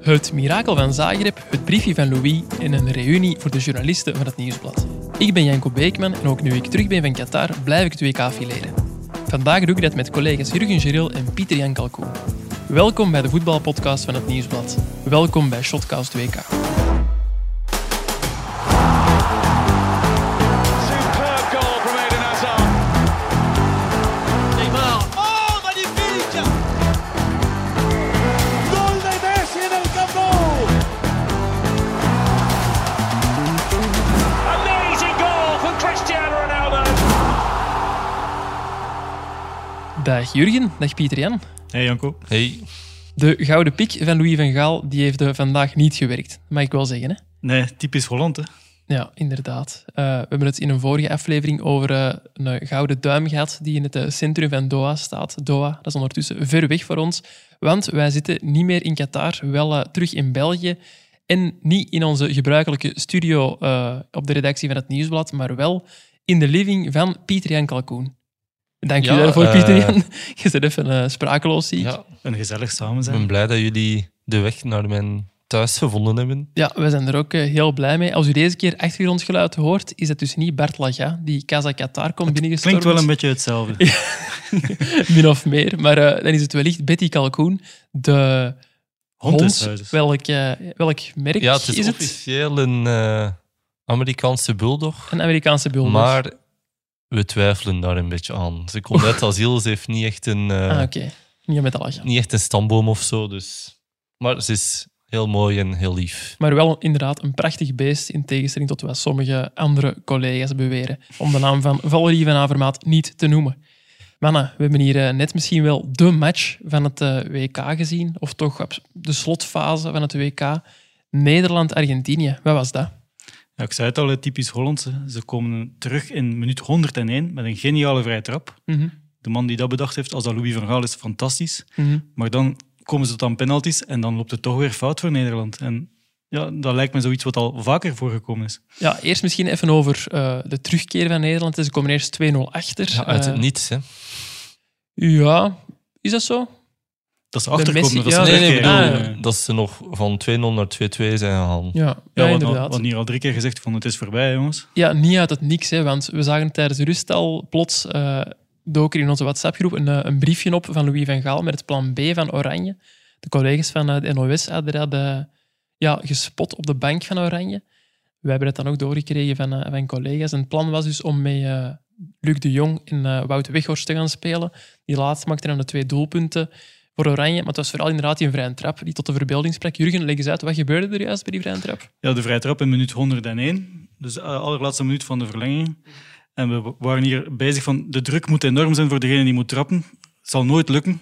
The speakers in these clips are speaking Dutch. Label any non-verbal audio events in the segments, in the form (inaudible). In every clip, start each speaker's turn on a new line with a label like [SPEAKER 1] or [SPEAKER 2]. [SPEAKER 1] Het mirakel van Zagreb, het briefje van Louis en een reunie voor de journalisten van het Nieuwsblad. Ik ben Janko Beekman en ook nu ik terug ben van Qatar blijf ik het WK fileren. Vandaag doe ik dat met collega's Jurgen Geril en Pieter-Jan Kalkoen. Welkom bij de voetbalpodcast van het Nieuwsblad. Welkom bij Shotcast WK.
[SPEAKER 2] Superb goal from Eden Hazard. Neymar. Oh, magnifique! Gol de Messi en el Camp Nou. Amazing goal from Cristiano Ronaldo.
[SPEAKER 1] Dag Jurgen, dag Pieter-Jan.
[SPEAKER 3] Hey Janko.
[SPEAKER 4] Hey,
[SPEAKER 1] De gouden piek van Louis van Gaal die heeft eh, vandaag niet gewerkt, mag ik wel zeggen. Hè?
[SPEAKER 3] Nee, typisch Holland hè.
[SPEAKER 1] Ja, inderdaad. Eh, we hebben het in een vorige aflevering over eh, een gouden duim gehad die in het eh, centrum van Doha staat. Doha, dat is ondertussen ver weg voor ons, want wij zitten niet meer in Qatar, wel eh, terug in België. En niet in onze gebruikelijke studio eh, op de redactie van het Nieuwsblad, maar wel in de living van Pieter-Jan Kalkoen. Dank
[SPEAKER 4] Ja,
[SPEAKER 1] je daarvoor,
[SPEAKER 4] eh,
[SPEAKER 1] Pieter-Jan. (laughs) Je zit even eh, sprakeloos, zie ik.
[SPEAKER 4] ja,
[SPEAKER 3] Een gezellig samen
[SPEAKER 4] ik
[SPEAKER 3] zijn.
[SPEAKER 4] ben blij dat jullie de weg naar mijn thuis gevonden hebben.
[SPEAKER 1] Ja, we zijn er ook eh, heel blij mee. Als u deze keer achtergrondgeluid hoort, is dat dus niet Bert Laga, die Casa Qatar komt binnengestormd.
[SPEAKER 3] Klinkt wel een beetje
[SPEAKER 4] (laughs)
[SPEAKER 3] hetzelfde.
[SPEAKER 1] min of meer. Maar eh, dan is het wellicht Betty Calcoen, de hond.
[SPEAKER 3] Hondenshuizers.
[SPEAKER 1] Welk, eh, welk merk
[SPEAKER 4] Ja, het is,
[SPEAKER 1] is het?
[SPEAKER 4] officieel een eh, Amerikaanse bulldog,
[SPEAKER 1] Een Amerikaanse bulldog.
[SPEAKER 4] maar we twijfelen daar een beetje aan. Ze
[SPEAKER 1] (laughs)
[SPEAKER 4] komt uit asiel, ze heeft niet echt een, eh,
[SPEAKER 1] Ah, oké. Niet met Laga.
[SPEAKER 4] niet echt een stamboom of zo, dus... maar ze is heel mooi en heel lief.
[SPEAKER 1] Maar wel inderdaad een prachtig beest, in tegenstelling tot wat sommige andere collega's beweren, om de naam van Valerie van Avermaat niet te noemen. Mannen, we hebben hier eh, net misschien wel de match van het eh, WK gezien, of toch op de slotfase van het WK. Nederland-Argentinië, wat was dat?
[SPEAKER 3] Ja, ik zei het al, hè, typisch Hollandse. Ze komen terug in minuut 101 met een geniale vrije trap.
[SPEAKER 1] Mhm,
[SPEAKER 3] De man die dat bedacht heeft, als dat Louis van Gaal is, fantastisch.
[SPEAKER 1] mhm.
[SPEAKER 3] Maar dan komen ze tot aan penalties en dan loopt het toch weer fout voor Nederland. En ja, dat lijkt me zoiets wat al vaker voorgekomen is.
[SPEAKER 1] Ja, eerst misschien even over eh, de terugkeer van Nederland. Ze komen eerst 2-0 achter.
[SPEAKER 4] Ja, uit het
[SPEAKER 1] Eh,
[SPEAKER 4] niets, hè.
[SPEAKER 1] ja, is dat zo?
[SPEAKER 3] Dat ze
[SPEAKER 1] Messi-
[SPEAKER 3] achterkomen, dat ze
[SPEAKER 1] ja,
[SPEAKER 4] Nee, nee, ik
[SPEAKER 3] terugkeren.
[SPEAKER 4] bedoel
[SPEAKER 1] Ah, ja.
[SPEAKER 4] dat ze nog van 2-0 naar 2-2 zijn gegaan.
[SPEAKER 1] Ja, ja,
[SPEAKER 3] Ja, wat,
[SPEAKER 1] inderdaad.
[SPEAKER 3] wat hier al drie keer gezegd van het is voorbij, jongens.
[SPEAKER 1] Ja, niet uit het niks, hè, want we zagen tijdens de rust al plots, eh dook er in onze WhatsApp-groep een, eh, een briefje op van Louis van Gaal met het plan B van Oranje. De collega's van eh, de NOS hadden dat eh, ja, gespot op de bank van Oranje. We hebben dat dan ook doorgekregen van, eh, van collega's. En het plan was dus om met eh, Luc de Jong en eh, Wout Weghorst te gaan spelen. Die laatst maakte dan de twee doelpunten voor Oranje. Maar het was vooral inderdaad die vrije trap die tot de verbeelding sprak. Jurgen, leg eens uit, wat gebeurde er juist bij die vrije trap?
[SPEAKER 3] Ja, de vrije trap in minuut 101. Dus de allerlaatste minuut van de verlenging. En we w- waren hier bezig van de druk moet enorm zijn voor degene die moet trappen. Het zal nooit lukken.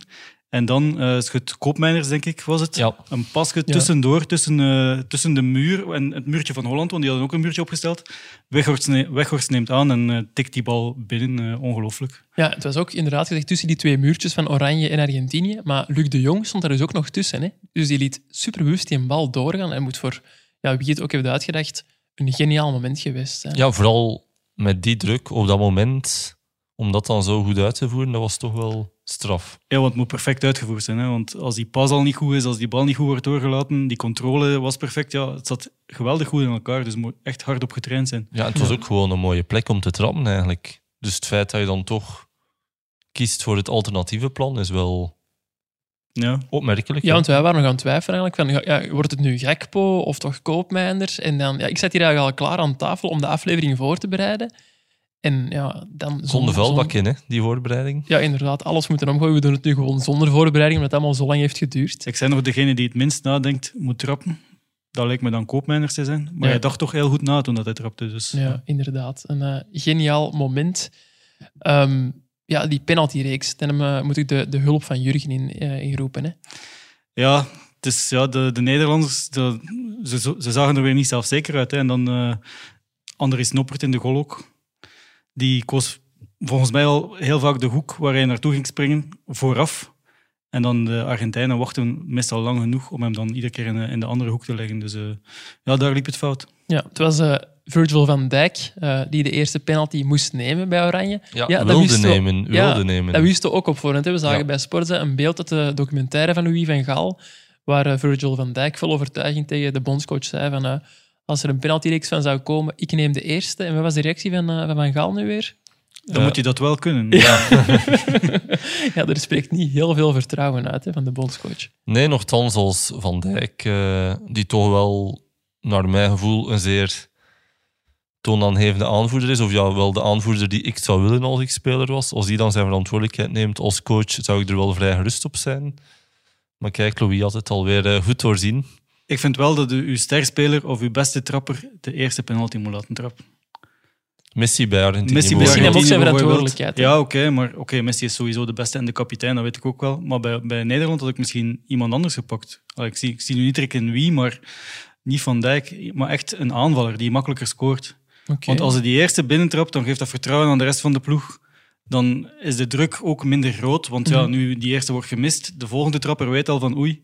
[SPEAKER 3] En dan eh schudt Koopmeiners, denk ik, was het.
[SPEAKER 4] Ja.
[SPEAKER 3] Een pasje
[SPEAKER 1] Ja.
[SPEAKER 3] tussendoor, tussen, eh, tussen de muur en het muurtje van Holland, want die hadden ook een muurtje opgesteld. Weghorst, ne- Weghorst neemt aan en eh, tikt die bal binnen. Eh, ongelooflijk.
[SPEAKER 1] Ja, het was ook inderdaad gezegd tussen die twee muurtjes van Oranje en Argentinië. Maar Luc de Jong stond daar dus ook nog tussen. Hè? Dus die liet superbewust die bal doorgaan. En moet voor ja, wie het ook heeft uitgedacht, een geniaal moment geweest zijn.
[SPEAKER 4] Ja, vooral met die druk op dat moment, om dat dan zo goed uit te voeren, dat was toch wel straf.
[SPEAKER 3] Ja, want het moet perfect uitgevoerd zijn. Hè? Want als die pas al niet goed is, als die bal niet goed wordt doorgelaten, die controle was perfect. Ja, het zat geweldig goed in elkaar, dus moet echt hard op getraind zijn.
[SPEAKER 4] Ja, het was ook gewoon een mooie plek om te trappen eigenlijk. Dus het feit dat je dan toch kiest voor het alternatieve plan is wel
[SPEAKER 3] Ja.
[SPEAKER 4] opmerkelijk.
[SPEAKER 1] Ja, want wij waren nog aan het twijfelen eigenlijk. Van, ja, ja, wordt het nu Gekpo of toch Koopmijnders? En dan, ja, ik zat hier eigenlijk al klaar aan tafel om de aflevering voor te bereiden. En ja, dan...
[SPEAKER 4] Zonder vuilbak
[SPEAKER 1] zon-
[SPEAKER 4] in, hè, die voorbereiding.
[SPEAKER 1] Ja, inderdaad. Alles moeten omgooien. We doen het nu gewoon zonder voorbereiding, omdat het allemaal zo lang heeft geduurd.
[SPEAKER 3] Ik zijn nog degene die het minst nadenkt, moet trappen. Dat lijkt me dan koopmijners te zijn. Maar
[SPEAKER 1] Ja.
[SPEAKER 3] hij dacht toch heel goed na toen dat hij trapte. Dus.
[SPEAKER 1] Ja, inderdaad. Een eh, geniaal moment. Ehm, ja, die penaltyreeks. Dan eh, moet ik de, de hulp van Jurgen in, eh, inroepen. Hè.
[SPEAKER 3] Ja, het is, ja de, de Nederlanders de- ze, ze zagen er weer niet zelfzeker uit. Hè. En dan eh Andries Noppert in de goal ook. Die koos volgens mij al heel vaak de hoek waar hij naartoe ging springen, vooraf. En dan de Argentijnen wachten meestal lang genoeg om hem dan iedere keer in, de- in de andere hoek te leggen. Dus eh, ja, daar liep het fout.
[SPEAKER 1] Ja, het was eh, Virgil van Dijk eh, die de eerste penalty moest nemen bij Oranje.
[SPEAKER 4] Ja,
[SPEAKER 1] Ja, dat
[SPEAKER 4] wilde
[SPEAKER 1] wisten we-
[SPEAKER 4] nemen, wilde
[SPEAKER 1] ja,
[SPEAKER 4] nemen.
[SPEAKER 1] Dat wisten we ook op voorhand. Hè. We zagen
[SPEAKER 4] Ja.
[SPEAKER 1] bij Sportza een beeld uit de documentaire van Louis van Gaal. waar eh, Virgil van Dijk vol overtuiging tegen de bondscoach zei van eh, als er een penaltyreeks van zou komen, ik neem de eerste. En wat was de reactie van, eh, van Van Gaal nu weer? (laughs)
[SPEAKER 3] Dan moet hij dat wel kunnen.
[SPEAKER 1] ja, er spreekt niet heel veel vertrouwen uit hè, van de bondscoach.
[SPEAKER 4] Nee, nogthans als Van Dijk, eh, die toch wel, naar mijn gevoel, een zeer toonaangevende aanvoerder is. Of ja, wel de aanvoerder die ik zou willen als ik speler was. Als die dan zijn verantwoordelijkheid neemt als coach, zou ik er wel vrij gerust op zijn. Maar kijk, Louis had het alweer eh, goed doorzien.
[SPEAKER 3] (laughs) Ik vind wel dat u uw sterspeler of uw beste trapper de eerste penalty moet laten trappen.
[SPEAKER 4] Messi bij Argentinië.
[SPEAKER 3] Messi bij
[SPEAKER 4] bijvoorbeeld.
[SPEAKER 1] Misschien hem ook
[SPEAKER 3] Argentinië
[SPEAKER 1] zijn
[SPEAKER 3] bijvoorbeeld.
[SPEAKER 1] verantwoordelijkheid, hè?
[SPEAKER 3] Ja, oké, maar oké, Messi is sowieso de beste en de kapitein, dat weet ik ook wel. Maar bij, bij Nederland had ik misschien iemand anders gepakt. Allee, Ik zie, ik zie nu niet direct in wie, maar niet Van Dijk, maar echt een aanvaller die makkelijker scoort.
[SPEAKER 1] Oké.
[SPEAKER 3] Want als hij die eerste binnentrapt, dan geeft dat vertrouwen aan de rest van de ploeg. Dan is de druk ook minder groot. Want ja, nu die eerste wordt gemist, de volgende trapper weet al van oei,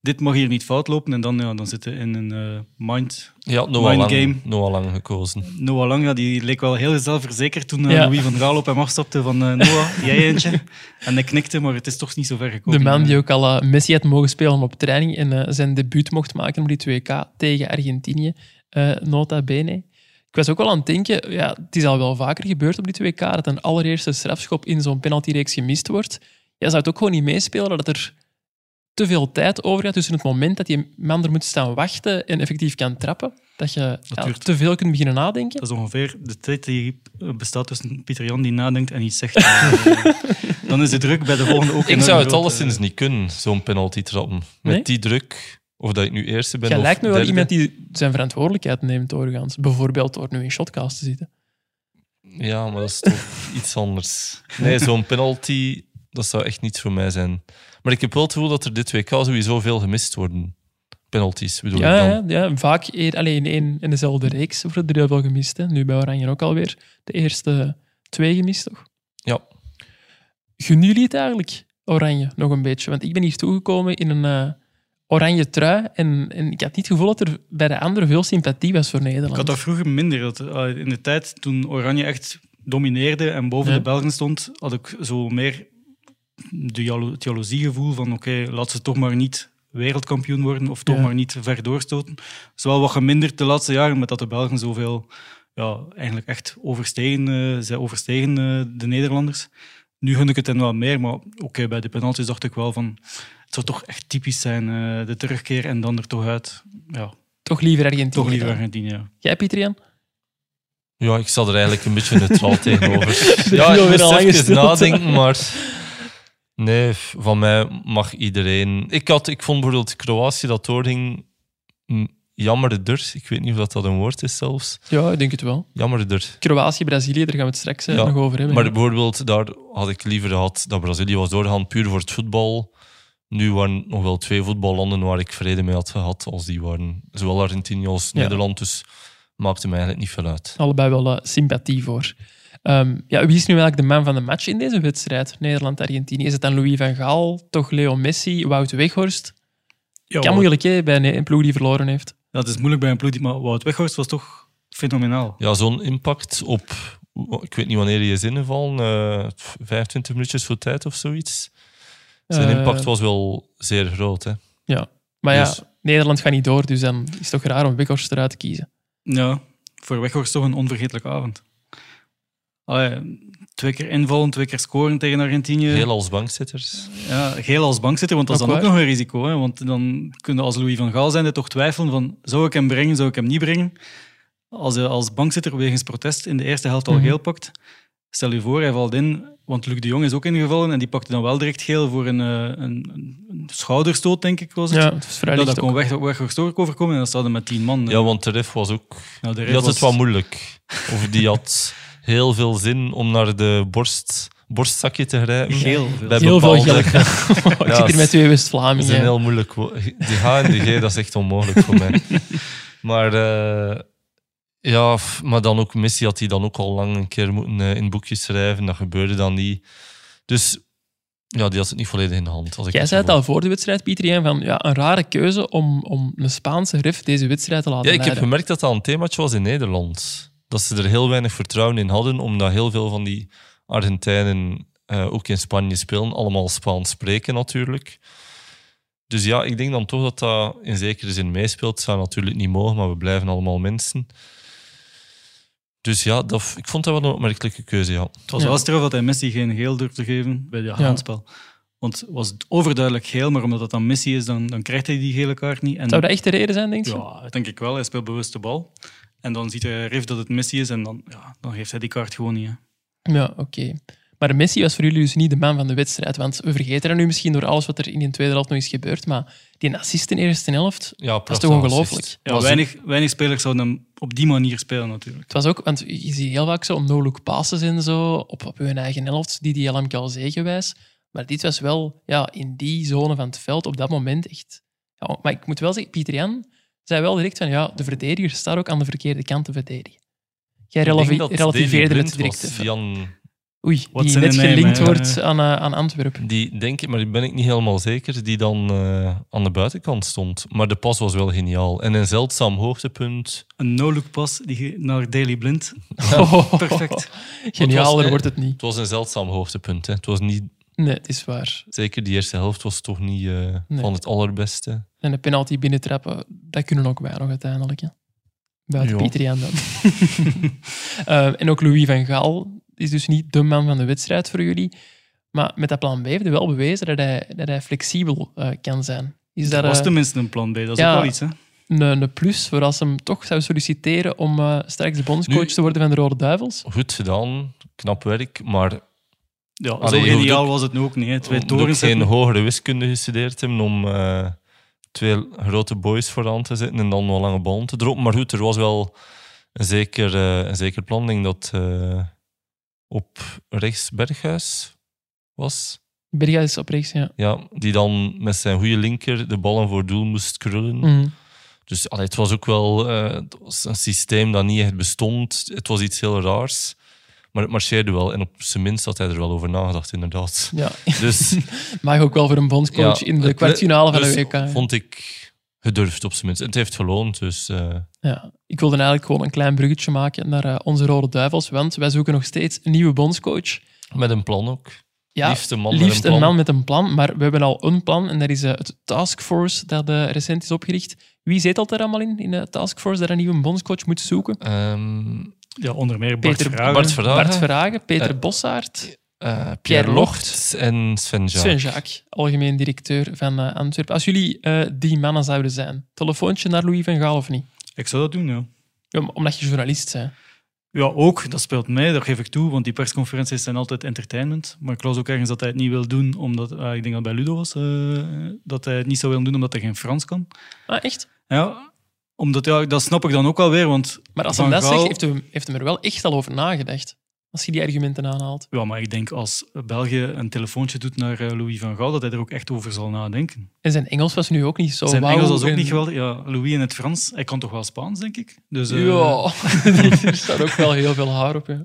[SPEAKER 3] dit mag hier niet fout lopen. En dan, ja, dan zit hij in een eh, mind.
[SPEAKER 4] Je had Noah
[SPEAKER 3] Mind
[SPEAKER 4] lang,
[SPEAKER 3] game.
[SPEAKER 4] Noah lang gekozen.
[SPEAKER 3] Noah Lang, ja, die leek wel heel zelfverzekerd toen eh,
[SPEAKER 1] Ja.
[SPEAKER 3] Louis van Gaal op hem afstapte van eh,
[SPEAKER 1] (laughs)
[SPEAKER 3] Noah, jij eentje. En hij knikte, maar het is toch niet zo ver
[SPEAKER 1] De
[SPEAKER 3] gekomen.
[SPEAKER 1] man die ook al eh, Messi had mogen spelen op training en eh, zijn debuut mocht maken op die 2K tegen Argentinië, eh, nota bene. Ik was ook wel aan het denken, ja, het is al wel vaker gebeurd op die 2K dat een allereerste strafschop in zo'n penaltyreeks gemist wordt. Ja, zou het ook gewoon niet meespelen dat er te veel tijd overgaat tussen het moment dat die man er moet staan wachten en effectief kan trappen, dat je ja,
[SPEAKER 3] duurt-
[SPEAKER 1] te veel kunt beginnen nadenken?
[SPEAKER 3] Dat is ongeveer de tijd die eh, bestaat tussen Pieter Jan die nadenkt en iets zegt.
[SPEAKER 1] (laughs)
[SPEAKER 3] Eh, dan is de druk bij de volgende ook
[SPEAKER 4] Ik
[SPEAKER 3] enorm
[SPEAKER 4] zou het
[SPEAKER 3] groot,
[SPEAKER 4] alleszins
[SPEAKER 3] eh.
[SPEAKER 4] niet kunnen, zo'n penalty trappen. Met
[SPEAKER 1] Nee?
[SPEAKER 4] die druk, of dat ik nu eerste ben
[SPEAKER 1] Jij
[SPEAKER 4] of
[SPEAKER 1] lijkt me wel
[SPEAKER 4] derde.
[SPEAKER 1] iemand die zijn verantwoordelijkheid neemt doorgaans. Bijvoorbeeld door nu in shotcast te zitten.
[SPEAKER 4] Ja, maar dat is toch
[SPEAKER 1] (laughs)
[SPEAKER 4] iets anders. Nee, zo'n penalty, dat zou echt niet voor mij zijn. Maar ik heb wel het gevoel dat er dit WK sowieso veel gemist worden. Penalties, bedoel ik
[SPEAKER 1] Ja,
[SPEAKER 4] dan.
[SPEAKER 1] ja, ja, vaak eer- alleen in één en dezelfde reeks wordt er heel veel gemist. Hè. Nu bij Oranje ook alweer de eerste twee gemist, toch?
[SPEAKER 4] Ja.
[SPEAKER 1] Gunnen jullie het eigenlijk, Oranje, nog een beetje? Want ik ben hier toegekomen in een eh, oranje trui en, en ik had niet het gevoel dat er bij de anderen veel sympathie was voor Nederland.
[SPEAKER 3] Ik had dat vroeger minder. Dat, eh, in de tijd toen Oranje echt domineerde en boven
[SPEAKER 1] Ja.
[SPEAKER 3] de Belgen stond, had ik zo meer de jalo- het jaloeziegevoel van oké, laat ze toch maar niet wereldkampioen worden of toch
[SPEAKER 1] Ja.
[SPEAKER 3] maar niet ver doorstoten. Dat is wel wat geminderd de laatste jaren, met dat de Belgen zoveel ja, eigenlijk echt overstegen, eh, zij overstegen eh, de Nederlanders. Nu gun ik het hen wel meer, maar oké, bij de penalties dacht ik wel van het zou toch echt typisch zijn, eh, de terugkeer en dan er toch uit. Ja,
[SPEAKER 1] Toch liever Argentinië.
[SPEAKER 3] toch liever
[SPEAKER 1] dan.
[SPEAKER 3] Argentinië. ja.
[SPEAKER 1] Jij, Pietrian?
[SPEAKER 4] Ja, ik zat er eigenlijk een beetje neutraal tegenover.
[SPEAKER 1] viel
[SPEAKER 4] Ja,
[SPEAKER 1] weer
[SPEAKER 4] ik
[SPEAKER 1] een
[SPEAKER 4] moest
[SPEAKER 1] lange
[SPEAKER 4] even
[SPEAKER 1] stilte.
[SPEAKER 4] nadenken, maar... Nee, f- van mij mag iedereen... Ik, had, ik vond bijvoorbeeld Kroatië dat doorging mm, jammerder. Ik weet niet of dat, dat een woord is zelfs.
[SPEAKER 1] Ja, ik denk het wel.
[SPEAKER 4] Jammerder.
[SPEAKER 1] Kroatië, Brazilië, daar gaan we het straks eh,
[SPEAKER 4] Ja,
[SPEAKER 1] nog over hebben.
[SPEAKER 4] Maar bijvoorbeeld, daar had ik liever gehad dat Brazilië was doorgaan puur voor het voetbal. Nu waren nog wel twee voetballanden waar ik vrede mee had gehad, als die waren. Zowel Argentinië als
[SPEAKER 1] Ja.
[SPEAKER 4] Nederland, dus maakte mij eigenlijk niet veel uit.
[SPEAKER 1] allebei wel eh, sympathie voor. Ehm, ja, wie is nu eigenlijk de man van de match in deze wedstrijd? Nederland-Argentinië. Is het dan Louis van Gaal, toch Leo Messi, Wout Weghorst? kan moeilijk hè, bij een- een ploeg die verloren heeft.
[SPEAKER 3] Dat is moeilijk bij een ploeg die... Maar Wout Weghorst was toch fenomenaal.
[SPEAKER 4] Ja, zo'n impact op, ik weet niet wanneer die is ingevallen, eh 25 minuutjes voor tijd of zoiets. Zijn
[SPEAKER 1] Eh,
[SPEAKER 4] impact was wel zeer groot. Hè.
[SPEAKER 1] Maar ja,
[SPEAKER 4] dus-
[SPEAKER 1] Nederland gaat niet door, dus dan is het toch raar om Weghorst eruit te kiezen.
[SPEAKER 3] Ja, voor Weghorst toch een onvergetelijke avond. Allee, twee keer invallen, twee keer scoren tegen Argentinië.
[SPEAKER 4] Heel als bankzitters.
[SPEAKER 3] Ja, geel als bankzitter, want dat is
[SPEAKER 1] Ook
[SPEAKER 3] dan ook
[SPEAKER 1] waar.
[SPEAKER 3] nog een risico. Hè? Want dan kun je als Louis van Gaal zijn toch twijfelen van zou ik hem brengen, zou ik hem niet brengen. Als hij als bankzitter wegens protest in de eerste helft al
[SPEAKER 1] Mhm.
[SPEAKER 3] geel pakt, stel je voor, hij valt in, want Luc de Jong is ook ingevallen en die pakte dan wel direct geel voor een, eh, een, een schouderstoot, denk ik was het.
[SPEAKER 1] Ja, het is vrij
[SPEAKER 3] Ja,
[SPEAKER 1] licht
[SPEAKER 3] dat kon
[SPEAKER 1] ook.
[SPEAKER 3] weg, Weghorst ook overkomen en dan staat hij met tien man.
[SPEAKER 4] Ja, want de ref was ook
[SPEAKER 3] Nou, de
[SPEAKER 4] Die
[SPEAKER 3] rest
[SPEAKER 4] had het
[SPEAKER 3] was-
[SPEAKER 4] wat moeilijk. Of die had heel veel zin om naar de borst, borstzakje te grijpen.
[SPEAKER 3] Geel.
[SPEAKER 4] Bij
[SPEAKER 1] Heel veel
[SPEAKER 4] bepaalde-
[SPEAKER 1] geld. (laughs) Ik
[SPEAKER 4] Ja,
[SPEAKER 1] zit hier met twee
[SPEAKER 4] Dat is een
[SPEAKER 1] West-Vlamingen.
[SPEAKER 4] heel moeilijk wo- Die H en de G, dat is echt onmogelijk voor
[SPEAKER 1] (laughs)
[SPEAKER 4] mij. Maar, eh, ja, f- maar dan ook Messi had hij dan ook al lang een keer moeten eh, in het boekje schrijven. Dat gebeurde dan niet. Dus ja, die had het niet volledig in de hand. als ik
[SPEAKER 1] Jij zei het
[SPEAKER 4] gevoel
[SPEAKER 1] al voor de wedstrijd, Pieter, Jan, van ja, een rare keuze om, om een Spaanse ref deze wedstrijd te laten
[SPEAKER 4] Ja, ik heb
[SPEAKER 1] leiden.
[SPEAKER 4] gemerkt dat dat een themaatje was in Nederland. Dat ze er heel weinig vertrouwen in hadden, omdat heel veel van die Argentijnen eh, ook in Spanje spelen, allemaal Spaans spreken natuurlijk. Dus ja, ik denk dan toch dat dat in zekere zin meespeelt. Het zou natuurlijk niet mogen, maar we blijven allemaal mensen. Dus ja, dat, ik vond dat wel een opmerkelijke keuze, ja.
[SPEAKER 3] Het was
[SPEAKER 1] Ja.
[SPEAKER 3] wel straf dat hij Messi geen geel durfde te geven bij dat
[SPEAKER 1] Ja.
[SPEAKER 3] handspel. Want het was overduidelijk geel, maar omdat dat dan Messi is, dan, dan krijgt hij die gele kaart niet. En
[SPEAKER 1] Zou dat echt de reden zijn, denk je?
[SPEAKER 3] Ja, dat denk ik wel. Hij speelt bewust de bal. En dan ziet hij Riff dat het Messi is en dan, ja, dan geeft hij die kaart gewoon niet. hè.
[SPEAKER 1] Ja, oké. Maar Messi was voor jullie dus niet de man van de wedstrijd. Want we vergeten dat nu misschien door alles wat er in de tweede helft nog is gebeurd. Maar die assist in de eerste helft,
[SPEAKER 4] ja
[SPEAKER 1] dat is toch ongelooflijk?
[SPEAKER 3] Ja, weinig, weinig spelers zouden hem op die manier spelen natuurlijk.
[SPEAKER 1] Het was ook, want je ziet heel vaak zo no-look passes en zo op, op hun eigen helft, die die LMK al zegenwijs. Maar dit was wel ja, in die zone van het veld op dat moment echt. Ja, maar ik moet wel zeggen, Pieter Jan zei wel direct van ja, de verdediger staat ook aan de verkeerde kant te verdedigen. Jij releve- relativeerde het direct.
[SPEAKER 4] direct.
[SPEAKER 1] even.
[SPEAKER 4] Jan,
[SPEAKER 1] Oei,
[SPEAKER 3] Wat
[SPEAKER 1] die
[SPEAKER 3] zijn
[SPEAKER 1] net
[SPEAKER 3] de namen,
[SPEAKER 1] gelinkt
[SPEAKER 3] hè?
[SPEAKER 1] wordt aan, eh, aan Antwerpen.
[SPEAKER 4] die denk ik, maar die ben ik niet helemaal zeker, die dan eh, aan de buitenkant stond. Maar de pas was wel geniaal. En een zeldzaam hoogtepunt.
[SPEAKER 3] Een no-look pas die ge- naar Daily Blind.
[SPEAKER 4] Oh.
[SPEAKER 1] (laughs)
[SPEAKER 3] perfect.
[SPEAKER 4] Want het
[SPEAKER 1] Genialer
[SPEAKER 4] was-
[SPEAKER 1] wordt het niet.
[SPEAKER 4] Het was een zeldzaam hoogtepunt. Hè. Het was niet,
[SPEAKER 1] eh, Nee, het is waar.
[SPEAKER 4] zeker die eerste helft was toch niet eh,
[SPEAKER 1] Nee.
[SPEAKER 4] van het allerbeste.
[SPEAKER 1] En de penalty binnentrappen, dat kunnen ook wij nog uiteindelijk. Hè? Buiten
[SPEAKER 4] Ja.
[SPEAKER 1] Pieter Jan dan. (laughs) Eh, en ook Louis van Gaal is dus niet de man van de wedstrijd voor jullie. Maar met dat plan B heeft hij wel bewezen dat hij, dat hij flexibel eh, kan zijn. Is dat,
[SPEAKER 3] Dat was
[SPEAKER 1] eh,
[SPEAKER 3] tenminste een plan B. Dat is
[SPEAKER 1] ja.
[SPEAKER 3] ook wel iets. Hè?
[SPEAKER 1] een, een plus voor als ze hem toch zou solliciteren om eh, straks de bondscoach
[SPEAKER 4] Nu-
[SPEAKER 1] te worden van de Rode Duivels?
[SPEAKER 4] Goed gedaan, knap werk, maar
[SPEAKER 3] Ja,
[SPEAKER 4] Allee, Ah, je
[SPEAKER 3] zo
[SPEAKER 4] hoeft
[SPEAKER 3] geniaal
[SPEAKER 4] ook-
[SPEAKER 3] was het nu ook niet. Hè? Twee
[SPEAKER 4] moet ook
[SPEAKER 3] torens.
[SPEAKER 4] geen
[SPEAKER 3] zetten.
[SPEAKER 4] hogere wiskunde gestudeerd hebben om eh, twee grote boys vooraan te zetten en dan wel lange ballen te droppen. Maar goed, er was wel een zeker, eh, een zeker plan. Ik denk dat eh, op rechts Berghuis was.
[SPEAKER 1] Berghuis is op rechts, ja.
[SPEAKER 4] Ja, die dan met zijn goede linker de ballen voor doel moest krullen.
[SPEAKER 1] Mhm.
[SPEAKER 4] Dus allee, het was ook wel eh, het was een systeem dat niet echt bestond. Het was iets heel raars. Maar het marcheerde wel. En op zijn minst had hij er wel over nagedacht,
[SPEAKER 1] (laughs)
[SPEAKER 4] inderdaad.
[SPEAKER 1] ja.
[SPEAKER 4] Dus
[SPEAKER 1] Mag ook wel voor een bondscoach
[SPEAKER 4] Ja,
[SPEAKER 1] in de
[SPEAKER 4] het-
[SPEAKER 1] kwartfinale van
[SPEAKER 4] dus
[SPEAKER 1] de WK. hè.
[SPEAKER 4] vond ik gedurfd op zijn minst. Het heeft geloond, dus eh,
[SPEAKER 1] Ja, ik wilde eigenlijk gewoon een klein bruggetje maken naar eh, onze Rode Duivels, want wij zoeken nog steeds een nieuwe bondscoach.
[SPEAKER 4] met een plan ook.
[SPEAKER 1] Ja,
[SPEAKER 4] liefst een man
[SPEAKER 1] liefst
[SPEAKER 4] met een plan.
[SPEAKER 1] man met een plan, maar we hebben al een plan en dat is eh, het Taskforce dat eh, recent is opgericht. Wie zit al daar allemaal in, in de Taskforce, dat een nieuwe bondscoach moet zoeken?
[SPEAKER 4] Ehm,
[SPEAKER 3] Ja, onder meer Bart
[SPEAKER 1] Peter-
[SPEAKER 3] Verhagen.
[SPEAKER 4] Bart Verhagen,
[SPEAKER 1] Bart Verhagen, Peter
[SPEAKER 4] Eh,
[SPEAKER 1] Bossaert,
[SPEAKER 4] eh, Pierre,
[SPEAKER 1] Pierre Locht.
[SPEAKER 4] Locht, en Sven Jaak.
[SPEAKER 1] Sven Jacques, algemeen directeur van eh, Antwerpen. Als jullie eh, die mannen zouden zijn, telefoontje naar Louis van Gaal of niet?
[SPEAKER 3] Ik zou dat doen, ja.
[SPEAKER 1] Ja, maar omdat je journalist bent.
[SPEAKER 3] Ja, ook. Dat speelt mij, dat geef ik toe. Want die persconferenties zijn altijd entertainment. Maar ik las ook ergens dat hij het niet wil doen, omdat... ah, ik denk dat het bij Ludo was. eh, dat hij het niet zou willen doen, omdat hij geen Frans kan.
[SPEAKER 1] Ah, echt?
[SPEAKER 3] Ja, omdat, ja, dat snap ik dan ook wel weer, want...
[SPEAKER 1] Maar als
[SPEAKER 3] Van
[SPEAKER 1] hij dat zegt,
[SPEAKER 3] Gaal-
[SPEAKER 1] heeft hem, heeft hem er wel echt al over nagedacht. Als je die argumenten aanhaalt.
[SPEAKER 3] Ja, maar ik denk als België een telefoontje doet naar eh, Louis van Gaal, dat hij er ook echt over zal nadenken.
[SPEAKER 1] En zijn Engels was nu ook niet zo
[SPEAKER 3] Zijn
[SPEAKER 1] wauw
[SPEAKER 3] Engels was ook
[SPEAKER 1] en-
[SPEAKER 3] niet geweldig. Ja, Louis in het Frans. Hij kan toch wel Spaans, denk ik? Dus, eh,
[SPEAKER 1] Ja, (laughs) er staat ook wel heel veel haar op. Ja.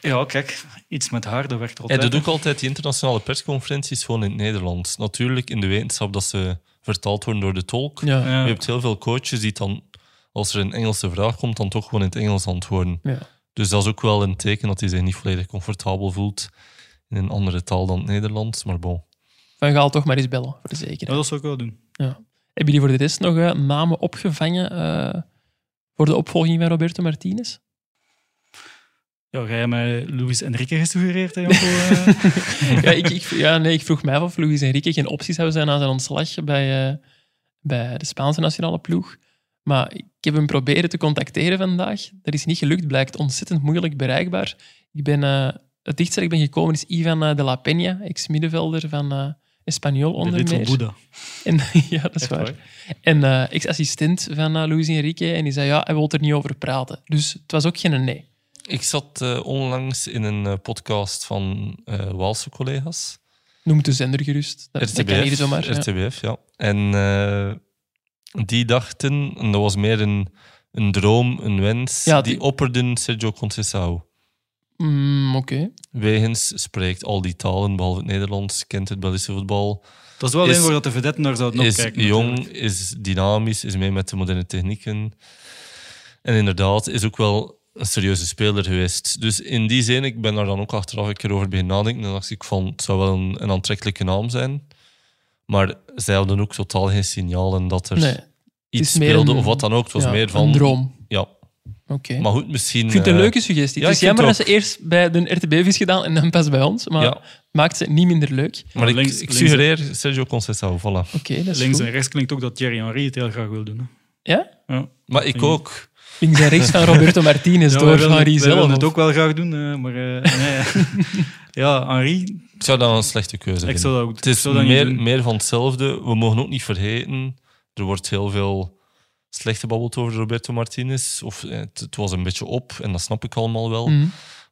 [SPEAKER 3] ja, kijk. Iets met haar, dat werkt
[SPEAKER 4] Hij
[SPEAKER 3] altijd.
[SPEAKER 4] doet ook altijd die internationale persconferenties gewoon in het Nederlands. Natuurlijk in de wetenschap dat ze vertaald worden door de tolk.
[SPEAKER 1] Ja.
[SPEAKER 3] Ja.
[SPEAKER 4] Je hebt heel veel coaches die dan, als er een Engelse vraag komt, dan toch gewoon in het Engels antwoorden.
[SPEAKER 1] Ja.
[SPEAKER 4] Dus dat is ook wel een teken dat hij zich niet volledig comfortabel voelt in een andere taal dan het Nederlands. Maar bon.
[SPEAKER 1] Van Gaal toch maar eens bellen, voor de zekerheid.
[SPEAKER 3] Ja, dat zou ik wel doen.
[SPEAKER 1] Hebben jullie voor de rest nog eh, namen opgevangen eh, voor de opvolging van Roberto Martinez?
[SPEAKER 3] Ja, jij hebt mij Louis Enrique gesuggereerd, hè, Janko?
[SPEAKER 1] (laughs)
[SPEAKER 3] eh?
[SPEAKER 1] ja, ik, ik, ja, nee, ik vroeg mij af of Luis Enrique geen opties zou zijn aan zijn ontslag bij, eh, bij de Spaanse nationale ploeg. Maar ik heb hem proberen te contacteren vandaag. Dat is niet gelukt, blijkt ontzettend moeilijk bereikbaar. Ik ben, eh, het dichtst dat ik ben gekomen is Ivan eh, de la Peña, ex-middenvelder van eh Espanyol
[SPEAKER 3] De
[SPEAKER 1] onder
[SPEAKER 3] Little
[SPEAKER 1] meer.
[SPEAKER 3] Buddha.
[SPEAKER 1] En, (laughs) ja, dat is waar. En eh, ex-assistent van eh, Luis Enrique. En die zei, ja, hij wil er niet over praten. Dus het was ook geen nee.
[SPEAKER 4] Ik zat eh, onlangs in een eh, podcast van eh, Waalse collega's.
[SPEAKER 1] Noem de zender gerust. Dat, dat kan hier
[SPEAKER 4] RTBF,
[SPEAKER 1] zomaar. ja.
[SPEAKER 4] RTBF, ja. En eh, die dachten, en dat was meer een, een droom, een wens,
[SPEAKER 1] Ja,
[SPEAKER 4] die
[SPEAKER 1] die-
[SPEAKER 4] opperden Sergio Conceição.
[SPEAKER 1] Mm, Oké.
[SPEAKER 4] Wegens spreekt al die talen, behalve het Nederlands, kent het Belgische voetbal,
[SPEAKER 3] Dat is wel
[SPEAKER 4] Is-
[SPEAKER 3] een waar dat de vedetten naar zouden
[SPEAKER 4] is
[SPEAKER 3] opkijken.
[SPEAKER 4] jong,
[SPEAKER 3] natuurlijk.
[SPEAKER 4] is dynamisch, is mee met de moderne technieken. En inderdaad, is ook wel een serieuze speler geweest. Dus in die zin, ik ben daar dan ook achteraf een keer over beginnen nadenken. Dan dacht ik van, het zou wel een, een aantrekkelijke naam zijn. Maar zij hadden ook totaal geen signalen dat er
[SPEAKER 1] Nee, het
[SPEAKER 4] iets
[SPEAKER 1] is meer
[SPEAKER 4] speelde
[SPEAKER 1] een-
[SPEAKER 4] of wat dan ook. Het was
[SPEAKER 1] ja,
[SPEAKER 4] meer van...
[SPEAKER 1] Een droom.
[SPEAKER 4] Ja,
[SPEAKER 1] Oké.
[SPEAKER 4] maar goed, misschien...
[SPEAKER 1] Ik vind het een
[SPEAKER 4] eh,
[SPEAKER 1] leuke suggestie.
[SPEAKER 4] ja,
[SPEAKER 1] het is
[SPEAKER 4] ik vind
[SPEAKER 1] jammer dat
[SPEAKER 4] het
[SPEAKER 1] ze eerst bij de RTB is gedaan en dan pas bij ons. Maar
[SPEAKER 4] Ja.
[SPEAKER 1] het maakt ze niet minder leuk.
[SPEAKER 4] Maar ik,
[SPEAKER 3] Links-
[SPEAKER 4] ik
[SPEAKER 3] links-
[SPEAKER 4] suggereer Sergio Conceição, voilà.
[SPEAKER 1] Oké, dat is
[SPEAKER 3] Links
[SPEAKER 1] goed.
[SPEAKER 3] en rechts klinkt ook dat Thierry Henry het heel graag wil doen. Hè.
[SPEAKER 1] Ja?
[SPEAKER 3] Ja.
[SPEAKER 4] Maar ik
[SPEAKER 3] Ja.
[SPEAKER 4] ook.
[SPEAKER 1] Links en rechts van Roberto Martinez
[SPEAKER 3] (laughs) Ja, wij
[SPEAKER 1] door
[SPEAKER 3] wilden-
[SPEAKER 1] Henri
[SPEAKER 3] wij wilden
[SPEAKER 1] zelf.
[SPEAKER 3] het ook wel graag doen, eh, maar
[SPEAKER 1] (laughs)
[SPEAKER 3] eh, nee. ja, Henri,
[SPEAKER 4] Ik zou dat een slechte keuze
[SPEAKER 3] ik
[SPEAKER 4] vinden.
[SPEAKER 3] zou dat ook
[SPEAKER 4] Het is
[SPEAKER 3] zou dat niet
[SPEAKER 4] meer,
[SPEAKER 3] doen.
[SPEAKER 4] meer van hetzelfde. We mogen ook niet vergeten, er wordt heel veel slecht gebabbeld over Roberto Martinez. Of, eh, het, het was een beetje op, en dat snap ik allemaal wel.
[SPEAKER 1] Mhm.
[SPEAKER 4] Maar